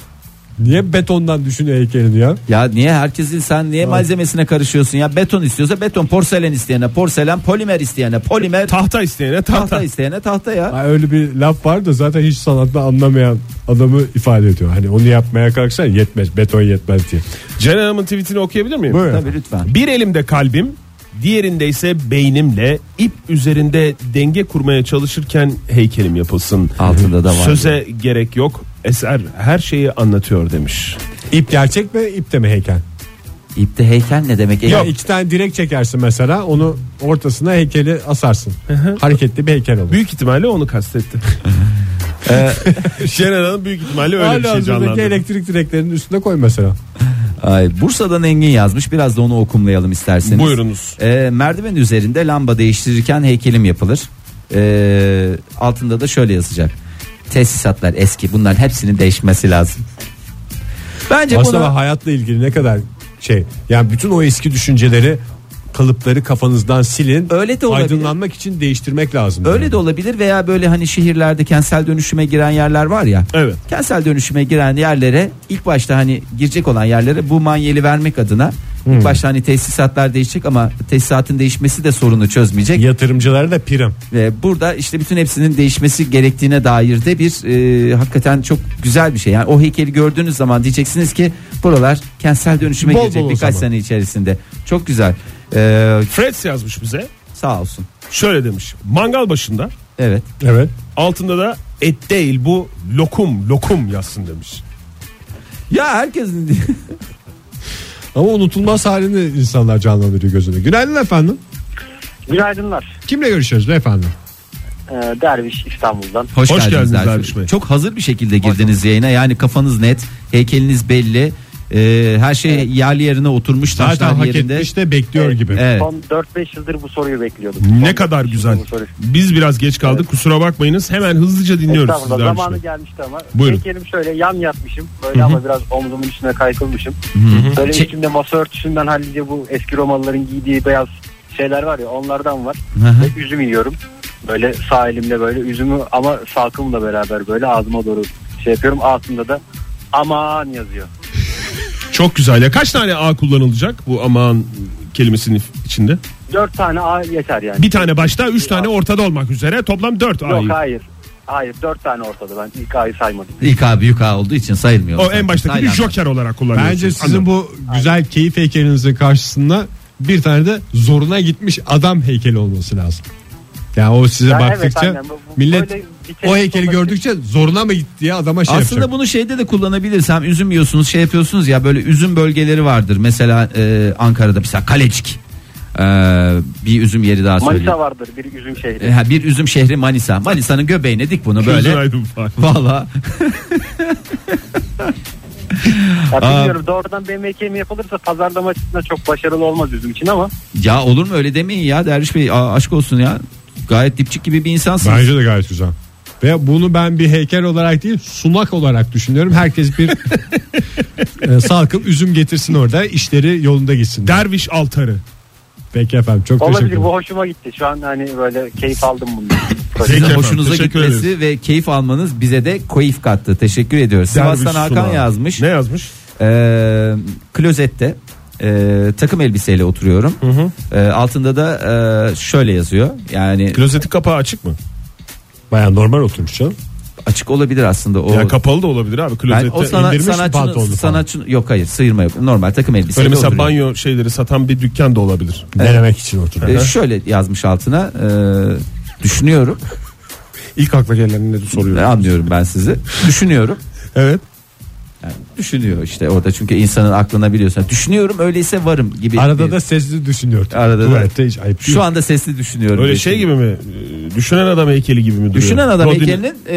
S5: Niye betondan düşünüyor heykelini ya?
S4: Ya niye herkesin sen niye malzemesine karışıyorsun ya beton istiyorsa beton porselen isteyene porselen polimer isteyene polimer
S3: tahta isteyene tahta.
S4: tahta isteyene tahta ya.
S5: Ay Öyle bir laf var da zaten hiç sanatta anlamayan adamı ifade ediyor. Hani onu yapmaya kalksan yetmez, beton yetmez diye.
S3: Ceren Hanım'ın tweetini okuyabilir miyim?
S5: Buyurun.
S4: Tabii lütfen.
S3: Bir elimde kalbim, diğerinde ise beynimle ip üzerinde denge kurmaya çalışırken heykelim yapılsın.
S4: Altında da var.
S3: Söze gerek yok. Eser her şeyi anlatıyor demiş.
S5: İp gerçek mi, ip de mi heykel?
S4: İpte heykel ne demek? Ege?
S5: Ya iki tane direk çekersin mesela, onu ortasına heykeli asarsın. Hareketli bir heykel olur.
S3: Büyük ihtimalle onu kastetti.
S4: Ee,
S3: Ceren Hanım büyük ihtimalle öyle bir
S5: Hala
S3: şey
S5: hazırdaki
S3: canlandırdı.
S5: elektrik direklerinin üstüne koy mesela.
S4: Ay, Bursa'dan Engin yazmış. Biraz da onu okumlayalım isterseniz.
S3: Buyurunuz.
S4: Ee, merdiven üzerinde lamba değiştirirken heykelim yapılır. Ee, altında da şöyle yazacak. Tesisatlar eski. Bunların hepsinin değişmesi lazım. Bence
S5: Aslında
S4: buna-
S5: hayatla ilgili ne kadar şey yani bütün o eski düşünceleri kalıpları kafanızdan silin.
S4: Öyle de olabilir.
S5: Aydınlanmak için değiştirmek lazım.
S4: Öyle de olabilir veya böyle hani şehirlerde kentsel dönüşüme giren yerler var ya.
S3: Evet.
S4: Kentsel dönüşüme giren yerlere ilk başta hani girecek olan yerlere bu manyeli vermek adına
S5: Hmm.
S4: ilk başta hani tesisatlar değişecek ama tesisatın değişmesi de sorunu çözmeyecek.
S5: Yatırımcılara da prim.
S4: Ve burada işte bütün hepsinin değişmesi gerektiğine dair de bir e, hakikaten çok güzel bir şey. Yani o heykeli gördüğünüz zaman diyeceksiniz ki buralar kentsel dönüşüme
S5: Bol
S4: girecek
S5: bol o
S4: birkaç
S5: zaman.
S4: sene içerisinde. Çok güzel. Ee,
S3: Freds yazmış bize.
S4: sağ olsun.
S3: Şöyle demiş. Mangal başında
S4: Evet.
S5: Evet.
S3: altında da et değil bu lokum lokum yazsın demiş.
S4: Ya herkesin
S5: Ama unutulmaz halini insanlar canlandırıyor gözünde. Günaydın efendim.
S6: Günaydınlar.
S5: Kimle görüşüyoruz beyefendi?
S6: Ee, Derviş İstanbul'dan.
S4: Hoş,
S3: Hoş
S4: geldiniz,
S3: geldiniz
S4: Ertuğrul.
S3: Derviş Bey.
S4: Çok hazır bir şekilde girdiniz yayına. Yani kafanız net, heykeliniz belli. Ee, her şey yerli yerine oturmuş
S5: Zaten
S4: taşlar
S5: hak
S4: yerinde.
S5: etmiş de bekliyor gibi.
S4: Evet.
S6: Son 4-5 yıldır bu soruyu bekliyordum.
S3: Ne
S6: Son
S3: kadar
S6: 4-5
S3: güzel.
S6: yıldır bu soruyu.
S3: Biz biraz geç kaldık kusura bakmayınız. Hemen hızlıca dinliyoruz sizi
S6: Estağfurullah
S3: Derviş
S6: zamanı
S3: Bey.
S6: gelmişti ama.
S3: Buyurun.
S6: Heykelim şöyle yan yatmışım. Böyle ama biraz omzumun üstüne kaykılmışım. Böyle
S4: Çek-
S6: üstümde masa örtüsünden hallice bu eski Romalıların giydiği beyaz şeyler var ya onlardan var.
S4: Hı hı.
S6: Ve üzüm yiyorum. Böyle sağ elimle böyle üzümü ama salkımla beraber böyle ağzıma doğru şey yapıyorum. Altında da aman yazıyor.
S3: Çok güzel ya. Kaç tane A kullanılacak bu aman kelimesinin içinde?
S6: Dört tane A yeter yani.
S3: Bir tane başta, üç tane ortada olmak üzere toplam dört
S6: Yok
S3: A'yı.
S6: hayır. Hayır dört tane ortada ben ilk A'yı saymadım.
S4: İlk A büyük A olduğu için sayılmıyor.
S3: O
S4: zaten.
S3: en baştaki bir
S4: Tayland'da.
S3: joker olarak kullanıyorsunuz.
S5: Bence
S3: Anladım.
S5: sizin bu güzel keyif heykelinizin karşısında bir tane de zoruna gitmiş adam heykeli olması lazım. Yani o size
S6: Ya evet,
S5: baktıkça
S6: aynen. Bu- bu
S5: millet
S6: böyle bir kere
S5: o heykeli
S6: sonra-
S5: gördükçe zoruna mı gitti diye adama şey
S4: Aslında
S5: yapacak.
S4: bunu şeyde de kullanabilirsem üzüm yiyorsunuz şey yapıyorsunuz ya böyle üzüm bölgeleri vardır. Mesela e, Ankara'da mesela Kalecik E, bir üzüm yeri daha söyleyeyim.
S6: Manisa vardır bir üzüm şehri.
S4: E, ha, bir üzüm şehri Manisa. Manisa'nın göbeğine dik bunu
S3: Gözün
S4: böyle.
S3: aydın Fahir.
S4: Valla
S6: Ya bilmiyorum doğrudan benim ekmeğim yapılırsa pazarlama açısından çok başarılı olmaz üzüm için ama
S4: ya olur mu öyle demeyin ya Derviş Bey Aa, aşk olsun ya. Gayet dipçik gibi bir insansınız.
S5: Bence de gayet güzel. Ve bunu ben bir heykel olarak değil sunak olarak düşünüyorum. Herkes bir e, salkım üzüm getirsin orada işleri yolunda gitsin.
S3: Derviş altarı.
S5: Peki efendim çok teşekkür
S6: olabilir
S5: ederim.
S6: bu hoşuma gitti. Şu an hani böyle keyif aldım bundan.
S4: Sizin
S3: Peki efendim,
S4: hoşunuza
S3: teşekkür
S4: gitmesi ve keyif almanız bize de keyif kattı. Teşekkür ediyoruz. Sivas'tan
S3: Derviş
S4: Hakan
S3: sunağı.
S4: yazmış.
S3: Ne yazmış?
S4: Ee, klozette e, takım elbiseyle oturuyorum. Ee, altında da e, şöyle yazıyor. Yani
S3: Klozetin kapağı açık mı?
S5: Baya normal oturmuş canım.
S4: açık olabilir aslında o.
S3: Ya kapalı da olabilir abi.
S4: Ben
S3: Klozette
S4: o sana,
S3: indirmiş pantolonu
S4: sanatçının,
S3: falan.
S4: sanatçının yok hayır sıyırma yok. Normal takım elbiseyle
S3: Böyle mesela
S4: oturuyor.
S3: banyo şeyleri satan bir dükkan da olabilir.
S5: Denemek için oturuyor.
S4: Ee, şöyle yazmış altına. e, düşünüyorum.
S3: İlk akla gelenini de soruyorum.
S4: Anlıyorum ben sizi. Düşünüyorum.
S3: Evet.
S4: Düşünüyor işte orada çünkü insanın aklına biliyorsun. Düşünüyorum öyleyse varım gibi.
S5: Arada
S4: bir-
S5: da sesli düşünüyor.
S4: Arada da-
S5: Tuvalette hiç ayıp değil.
S4: şu anda sesli düşünüyorum.
S3: Öyle
S4: diye
S3: şey gibi mi? Ee, Düşünen adam heykeli gibi mi duruyor?
S4: Düşünen adam
S3: Rodin-
S4: heykelinin e,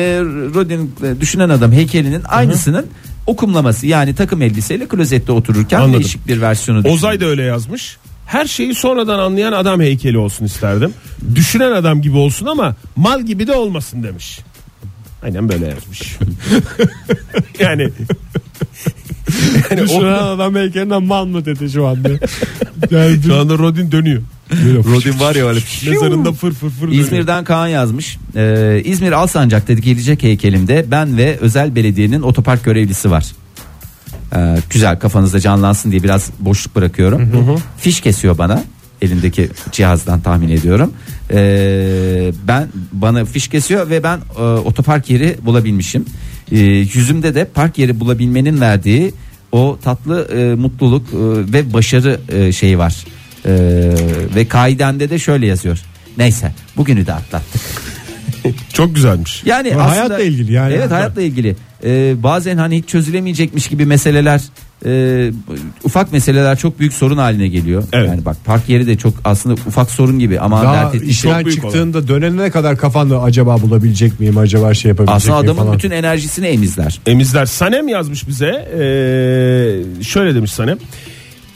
S4: Rodin e, düşünen adam heykelinin aynısının okumlaması yani takım elbiseyle klozette otururken
S3: Anladım.
S4: değişik bir versiyonu.
S3: Ozay da öyle yazmış. Her şeyi sonradan anlayan adam heykeli olsun isterdim. Düşünen adam gibi olsun ama mal gibi de olmasın demiş. Aynen böyle yazmış. yani
S5: Düşünen adam heykelinden mal mı dedi şu anda. yani
S3: şu anda Rodin dönüyor.
S4: Rodin var ya öyle.
S5: şey
S3: Mezarında fır fır fır dönüyor.
S4: İzmir'den Kaan yazmış. E, İzmir Alsancak'ta gelecek heykelimde ben ve özel belediyenin otopark görevlisi var. E, güzel kafanızda canlansın diye biraz boşluk bırakıyorum. Fiş kesiyor bana elindeki cihazdan tahmin ediyorum. E, ben bana fiş kesiyor ve ben e, otopark yeri bulabilmişim. E, yüzümde de park yeri bulabilmenin verdiği o tatlı e, mutluluk e, ve başarı e, şeyi var. E, ve kaidende de şöyle yazıyor. Neyse bugünü de atlattık.
S3: Çok güzelmiş.
S4: Yani
S5: Ama
S4: aslında,
S5: hayatla ilgili yani.
S4: Evet hayatla ilgili. Ee, bazen hani hiç çözülemeyecekmiş gibi meseleler e, ufak meseleler çok büyük sorun haline geliyor.
S3: Evet.
S4: Yani bak park yeri de çok aslında ufak sorun gibi ama
S5: Daha
S4: dert ettiği şey-
S5: işten
S3: büyük
S5: çıktığında dönene kadar kafanda acaba bulabilecek miyim acaba şey yapabilecek
S4: aslında
S5: miyim
S4: adamın
S5: falan.
S4: bütün enerjisini emizler.
S3: Emizler Sanem yazmış bize. Ee, şöyle demiş Sanem.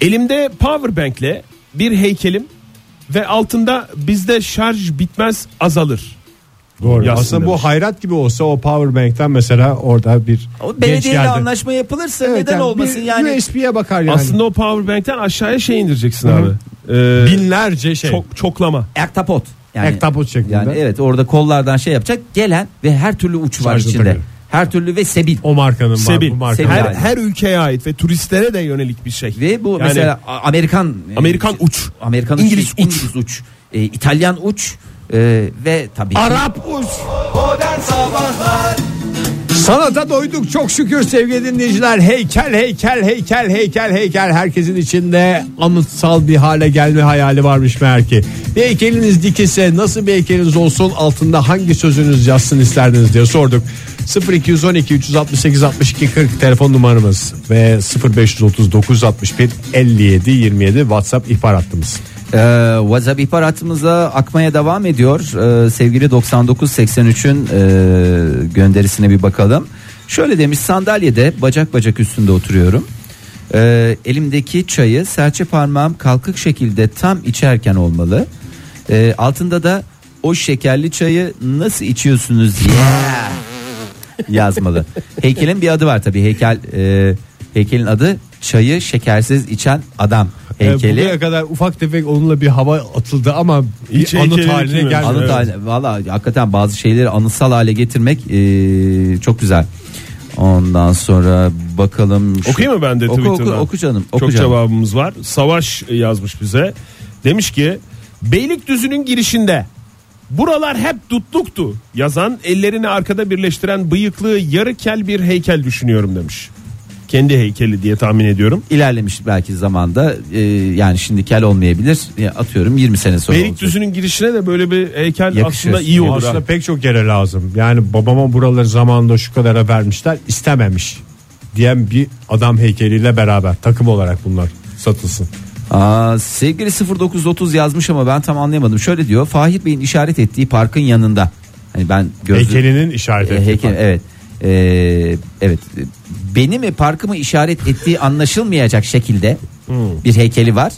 S3: Elimde power bank'le bir heykelim ve altında bizde şarj bitmez azalır.
S5: Doğru.
S3: Yazsın
S5: Aslında bu
S3: demiş.
S5: hayrat gibi olsa o power bank'ten mesela orada bir
S4: O
S5: genç
S4: belediyeyle
S5: geldi.
S4: anlaşma yapılırsa
S5: Evet,
S4: neden
S5: yani
S4: olmasın
S5: bir
S4: yani.
S5: USB'ye bakar yani.
S3: Aslında o power bank'ten aşağıya şey indireceksin
S5: Hı
S3: abi.
S5: hı.
S3: Ee,
S5: binlerce şey.
S3: çok çoklama.
S4: Ektapot. Yani,
S5: Ektapot şeklinde.
S4: Yani evet orada kollardan şey yapacak gelen ve her türlü uç var
S5: Şarjı
S4: içinde.
S5: takıyor.
S4: Her türlü ve sebil.
S5: o markanın
S3: Sebil.
S5: var bu markanın.
S4: Sebil.
S5: var.
S3: Her,
S4: yani.
S3: her ülkeye ait ve turistlere de yönelik bir şey.
S4: Ve bu
S3: Yani
S4: mesela A- Amerikan e,
S3: Amerikan
S4: şey-
S3: uç.
S4: Amerikan
S3: İngiliz
S4: uç, değil,
S3: uç.
S4: İngiliz uç, e, İtalyan uç e, ve tabii ki-
S1: Modern Sabahlar
S5: Sanata doyduk çok şükür sevgili dinleyiciler. Heykel, heykel, heykel, heykel, heykel. Herkesin içinde anıtsal bir hale gelme hayali varmış meğer ki. Bir heykeliniz dikilse nasıl bir heykeliniz olsun altında hangi sözünüz yazsın isterdiniz diye sorduk. 0212 368 62 40 telefon numaramız ve 0539 61 57 27 WhatsApp ihbar hattımız.
S4: Ee, WhatsApp ihbar hattımıza akmaya devam ediyor. Ee, sevgili 9983'ün e, gönderisine bir bakalım. Şöyle demiş sandalyede bacak bacak üstünde oturuyorum. Ee, elimdeki çayı serçe parmağım kalkık şekilde tam içerken olmalı. Ee, altında da o şekerli çayı nasıl içiyorsunuz diye yazmalı. Heykelin bir adı var tabii heykel e, heykelin adı çayı şekersiz içen adam. heykeli.
S5: Buraya kadar ufak tefek onunla bir hava atıldı ama
S3: Hiç
S5: bir anıt
S3: heykeli
S5: haline
S3: bitmiyor.
S5: gelmedi.
S3: Anıt
S4: Anı
S3: Evet.
S4: da- valla hakikaten bazı şeyleri anıtsal hale getirmek e, çok güzel. Ondan sonra bakalım. şu-
S3: Okuyayım mı ben de
S4: Oku,
S3: Twitter'dan?
S4: Oku, oku canım. Oku
S3: Çok
S4: canım.
S3: cevabımız var. Savaş yazmış bize. Demiş ki Beylikdüzü'nün girişinde buralar hep dutluktu yazan ellerini arkada birleştiren bıyıklı yarı kel bir heykel düşünüyorum demiş. Kendi heykeli diye tahmin ediyorum.
S4: İlerlemiş belki zamanda e, yani şimdi kel olmayabilir E, atıyorum 20 sene sonra olacak.
S3: Beylikdüzü'nün girişine de böyle bir heykel
S4: Yakışır.
S3: aslında iyi olur.
S5: Aslında
S3: ha.
S5: pek çok yere lazım. Yani babama buraları zamanında şu kadara vermişler istememiş diyen bir adam heykeliyle beraber takım olarak bunlar satılsın.
S4: Aa, sevgili 0930 yazmış ama ben tam anlayamadım şöyle diyor Fahir Bey'in işaret ettiği parkın yanında hani ben gözlü
S5: Heykelinin işareti.
S4: E, heykel evet Ee, evet beni mi parkımı işaret ettiği anlaşılmayacak şekilde
S3: Hmm.
S4: bir heykeli var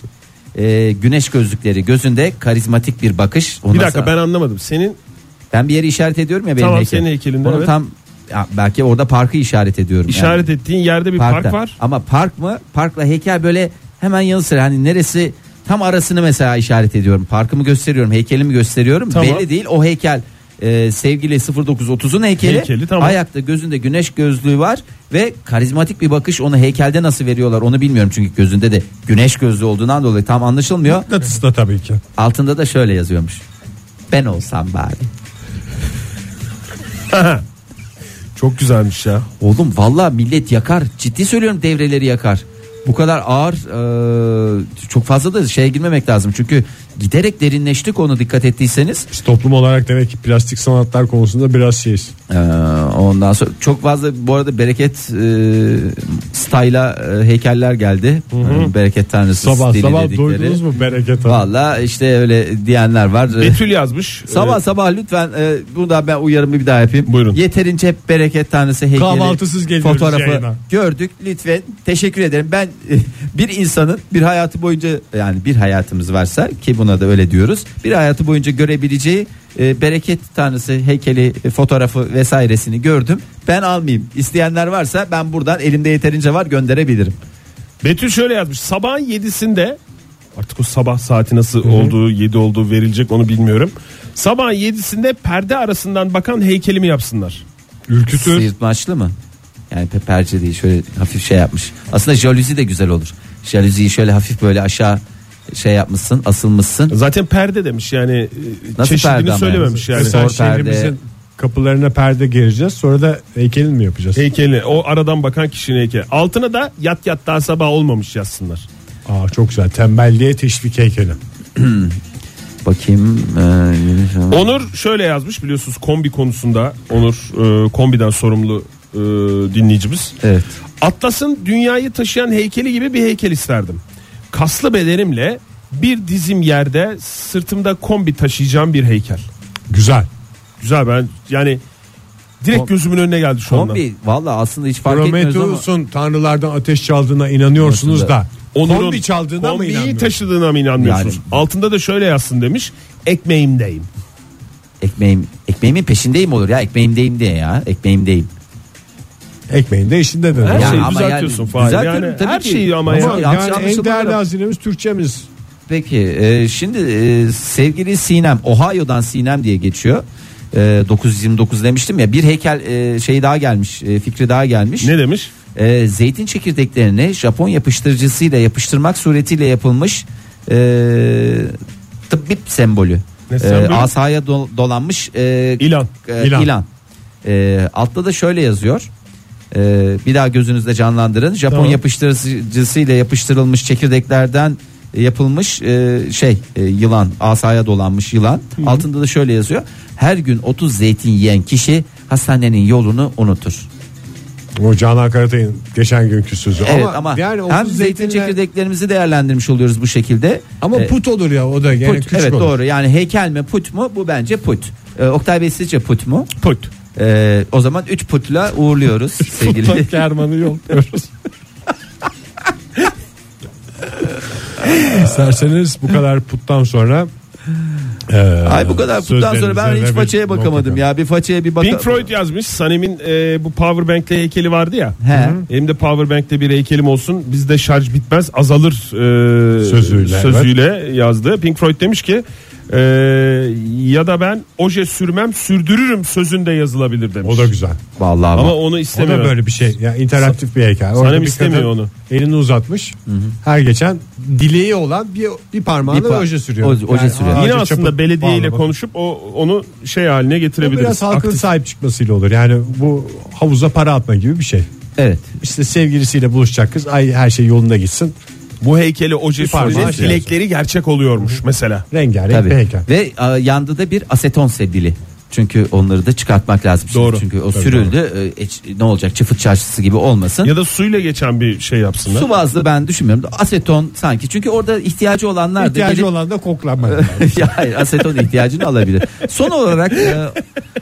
S4: Ee, güneş gözlükleri gözünde karizmatik bir bakış
S3: Bir
S4: Ondan
S3: dakika
S4: sonra-
S3: ben anlamadım. Senin
S4: ben bir yeri işaret ediyorum ya benim
S3: Tamam,
S4: heykelim.
S3: senin heykelinde,
S4: Onu
S3: evet.
S4: tam ya belki orada parkı işaret ediyorum yani.
S3: işaret ettiğin yerde bir
S4: Parkta.
S3: park var.
S4: Ama park mı? Parkla heykel böyle hemen yanı sıra hani neresi tam arasını mesela işaret ediyorum. Parkımı gösteriyorum, heykelimi gösteriyorum.
S3: Tamam.
S4: Belli değil o heykel. e, sevgili 0930'un heykeli,
S3: Heykeli, tamam.
S4: ayakta gözünde güneş gözlüğü var ve karizmatik bir bakış onu heykelde nasıl veriyorlar onu bilmiyorum çünkü gözünde de güneş gözlüğü olduğundan dolayı tam anlaşılmıyor
S5: Mıknatıs da tabii ki.
S4: altında da şöyle yazıyormuş ben olsam bari
S3: Çok güzelmiş ya.
S4: Oğlum valla millet yakar. Ciddi söylüyorum devreleri yakar. Bu kadar ağır e, çok fazla da şeye girmemek lazım. Çünkü giderek derinleşti konu dikkat ettiyseniz.
S5: Biz toplum olarak demek ki plastik sanatlar konusunda biraz şeyiz.
S4: E, ondan sonra çok fazla bu arada bereket e, style'a e, heykeller geldi. E, bereket tanrısı
S5: Sabah
S4: stili
S5: sabah
S4: dedikleri.
S5: doydunuz mu bereket hanım?
S4: Valla işte öyle diyenler var.
S3: Betül yazmış.
S4: Sabah
S3: Ee,
S4: sabah lütfen e, bunu da ben uyarımı bir daha yapayım.
S3: Buyurun.
S4: Yeterince hep bereket tanrısı heykeli
S5: Kahvaltısız geliyoruz
S4: fotoğrafı
S5: yayına.
S4: gördük. Lütfen teşekkür ederim. Ben e, bir insanın bir hayatı boyunca yani bir hayatımız varsa ki buna da öyle diyoruz. Bir hayatı boyunca görebileceği e, bereket tanrısı heykeli e, fotoğrafı vesairesini gördüm. Ben almayayım. İsteyenler varsa ben buradan elimde yeterince var gönderebilirim.
S3: Ee, Betül şöyle yazmış. Sabahın 7'sinde artık o sabah saati nasıl olduğu 7 olduğu verilecek onu bilmiyorum. Sabahın 7'sinde perde arasından bakan heykelimi yapsınlar.
S5: Ürkütür.
S4: Sıyırtmaçlı mı? Yani peperce değil şöyle hafif şey yapmış. Aslında jaluzi de güzel olur. Jaluziyi şöyle hafif böyle aşağı şey yapmışsın asılmışsın.
S3: Zaten perde demiş yani e,
S4: Nasıl perde
S3: çeşidini
S4: ama
S3: söylememiş
S4: yani?
S3: yani.
S5: Mesela
S4: Sor perde.
S5: şehrimizin kapılarına perde gereceğiz. Sonra da heykelini mi yapacağız?
S3: Heykeli o aradan bakan kişinin heykeli. Altına da yat yat daha sabah olmamış yazsınlar.
S5: Aa çok güzel. Tembelliğe teşvik heykeli.
S4: Bakayım. ee,
S3: Onur şöyle yazmış biliyorsunuz kombi konusunda Onur e, kombiden sorumlu e, dinleyicimiz.
S4: evet.
S3: Atlas'ın dünyayı taşıyan heykeli gibi bir heykel isterdim. Kaslı bedenimle bir dizim yerde sırtımda kombi taşıyacağım bir heykel.
S5: Güzel.
S3: Güzel ben yani direkt gözümün önüne geldi şu anda.
S4: Kombi valla aslında hiç fark etmiyoruz ama.
S5: Prometheus'un tanrılardan ateş çaldığına inanıyorsunuz da.
S3: Onur'un
S5: kombi çaldığına mı
S3: kombiyi
S5: inanmıyorsunuz?
S3: taşıdığına mı inanmıyorsunuz?
S4: Yani-
S3: Altında da şöyle yazsın demiş. Ekmeğimdeyim.
S4: Ekmeğim, ekmeğimin peşindeyim olur ya ekmeğimdeyim diye ya ekmeğimdeyim.
S5: Ekmeğin de işinde de.
S3: Her
S4: Ya
S3: şeyi
S4: ama
S3: düzeltiyorsun
S4: yani
S3: Fahir.
S4: düzeltiyorum
S3: Yani
S4: tabii
S3: her
S4: ki.
S3: şeyi ama ya.
S5: Ama
S4: Yanlış
S5: yani en
S4: anlaşılmalara-
S5: değerli hazinemiz Türkçemiz.
S4: Peki e, şimdi e, sevgili Sinem Ohio'dan Sinem diye geçiyor. E, 929 demiştim ya bir heykel e, şey daha gelmiş e, fikri daha gelmiş.
S3: Ne demiş?
S4: Ee, zeytin çekirdeklerini Japon yapıştırıcısıyla yapıştırmak suretiyle yapılmış ee, tıbbip sembolü.
S3: Ne
S4: Ee,
S3: sembolü?
S4: asaya do- dolanmış ee,
S3: İlan.
S4: e,
S5: İlan.
S4: ilan. Ee, altta da şöyle yazıyor. Ee, bir daha gözünüzde canlandırın. Japon
S3: Tamam.
S4: yapıştırıcısıyla yapıştırılmış çekirdeklerden yapılmış e, şey e, yılan asaya dolanmış yılan. Altında da şöyle yazıyor. Her gün 30 zeytin yiyen kişi hastanenin yolunu unutur.
S5: O Canan Karatay'ın geçen günkü sözü.
S4: Evet ama, hem zeytin çekirdeklerimizi değerlendirmiş oluyoruz bu şekilde.
S5: Ama
S4: Ee,
S5: put olur ya o da yani
S4: put,
S5: küçük
S4: evet
S5: olur.
S4: doğru yani heykel mi put mu bu bence put. Ee, Oktay Bey sizce put mu?
S3: Put.
S4: Ee, o zaman 3 putla uğurluyoruz sevgili.
S5: Kerman'ı yolluyoruz. İsterseniz bu kadar puttan sonra
S4: Ay bu kadar bundan sonra ben
S5: Sözlerinize
S4: hiç
S5: ve
S4: façaya
S5: bir
S4: bakamadım
S5: noktada.
S4: ya. Bir façaya bir
S3: Pink
S4: bakalım.
S3: Floyd yazmış. Sanem'in e, bu Powerbank'le heykeli vardı ya.
S4: He.
S3: Benim de Powerbank'te bir heykelim olsun. Bizde şarj bitmez azalır e,
S5: Sözüyle,
S3: sözüyle, yazdı. Pink Floyd demiş ki e, ya da ben oje sürmem sürdürürüm sözünde yazılabilir demiş.
S5: O da güzel.
S4: Vallahi
S3: Ama
S4: bak.
S3: onu
S5: O da
S3: istemiyor.
S5: böyle bir şey. Ya interaktif bir heykel.
S3: Sanem
S5: bir
S3: istemiyor
S5: kadın
S3: onu.
S5: Elini uzatmış. Her geçen dileği olan bir bir parmağını
S4: Bir pa-
S5: oje sürüyor.
S4: oje- oje sürüyor.
S3: Yine
S5: ağaca
S3: aslında
S5: çapıp
S3: belediyeyle
S5: bağlamak.
S3: konuşup o onu şey haline
S5: Bu
S3: getirebiliriz.
S5: biraz halkın
S3: Aktif.
S5: sahip çıkmasıyla olur. Yani bu havuza para atma gibi bir şey.
S4: Evet.
S5: İşte sevgilisiyle buluşacak kız. Ay her şey yolunda gitsin.
S3: Bu heykeli oje
S5: Bir parmağı
S3: sürünce
S5: şey
S3: dilekleri gerçek oluyormuş mesela.
S5: Rengarenk
S4: Tabii.
S5: bir heykel.
S4: Ve e, yanında da bir aseton sedili. Çünkü onları da çıkartmak lazım. şimdi.
S3: Doğru.
S4: Çünkü o
S3: Tabii,
S4: sürüldü. E, hiç- ne olacak? Çıfıt çarşısı gibi olmasın.
S3: Ya da suyla geçen bir şey yapsınlar.
S4: Su bazlı ben düşünmüyorum. Aseton sanki. Çünkü orada ihtiyacı olanlar da
S5: İhtiyacı
S4: gelip-
S5: olan da koklanmak.
S4: ya hayır, aseton ihtiyacını alabilir. Son olarak e,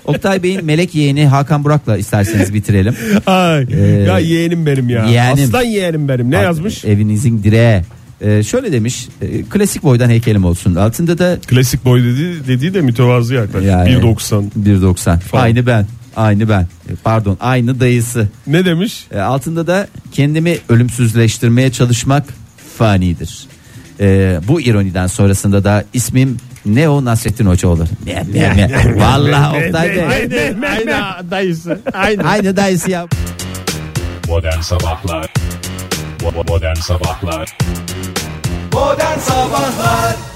S4: Oktay Bey'in melek yeğeni Hakan Burak'la isterseniz bitirelim.
S3: Ay, ya yeğenim benim ya.
S4: yeğenim.
S3: Aslan yeğenim benim. Ne
S4: Alt-
S3: yazmış?
S4: Evinizin direği. E, şöyle demiş. e, klasik boydan heykelim olsun. Altında da
S3: Klasik boy dediği, dediği de mütevazı yaklaşık.
S4: Yani-
S3: 1.90.
S4: 1.90. Aynı ben. Aynı ben. E, Pardon, aynı dayısı.
S3: Ne demiş?
S4: E, altında da kendimi ölümsüzleştirmeye çalışmak fanidir. E, bu ironiden sonrasında da ismim Neo Nasrettin Hoca olur. Me, me, me. Vallahi Oktay Bey.
S5: Aynı dayısı.
S4: Aynı dayısı ya.
S2: Modern Sabahlar Bo- bo- Modern Sabahlar
S1: Modern Sabahlar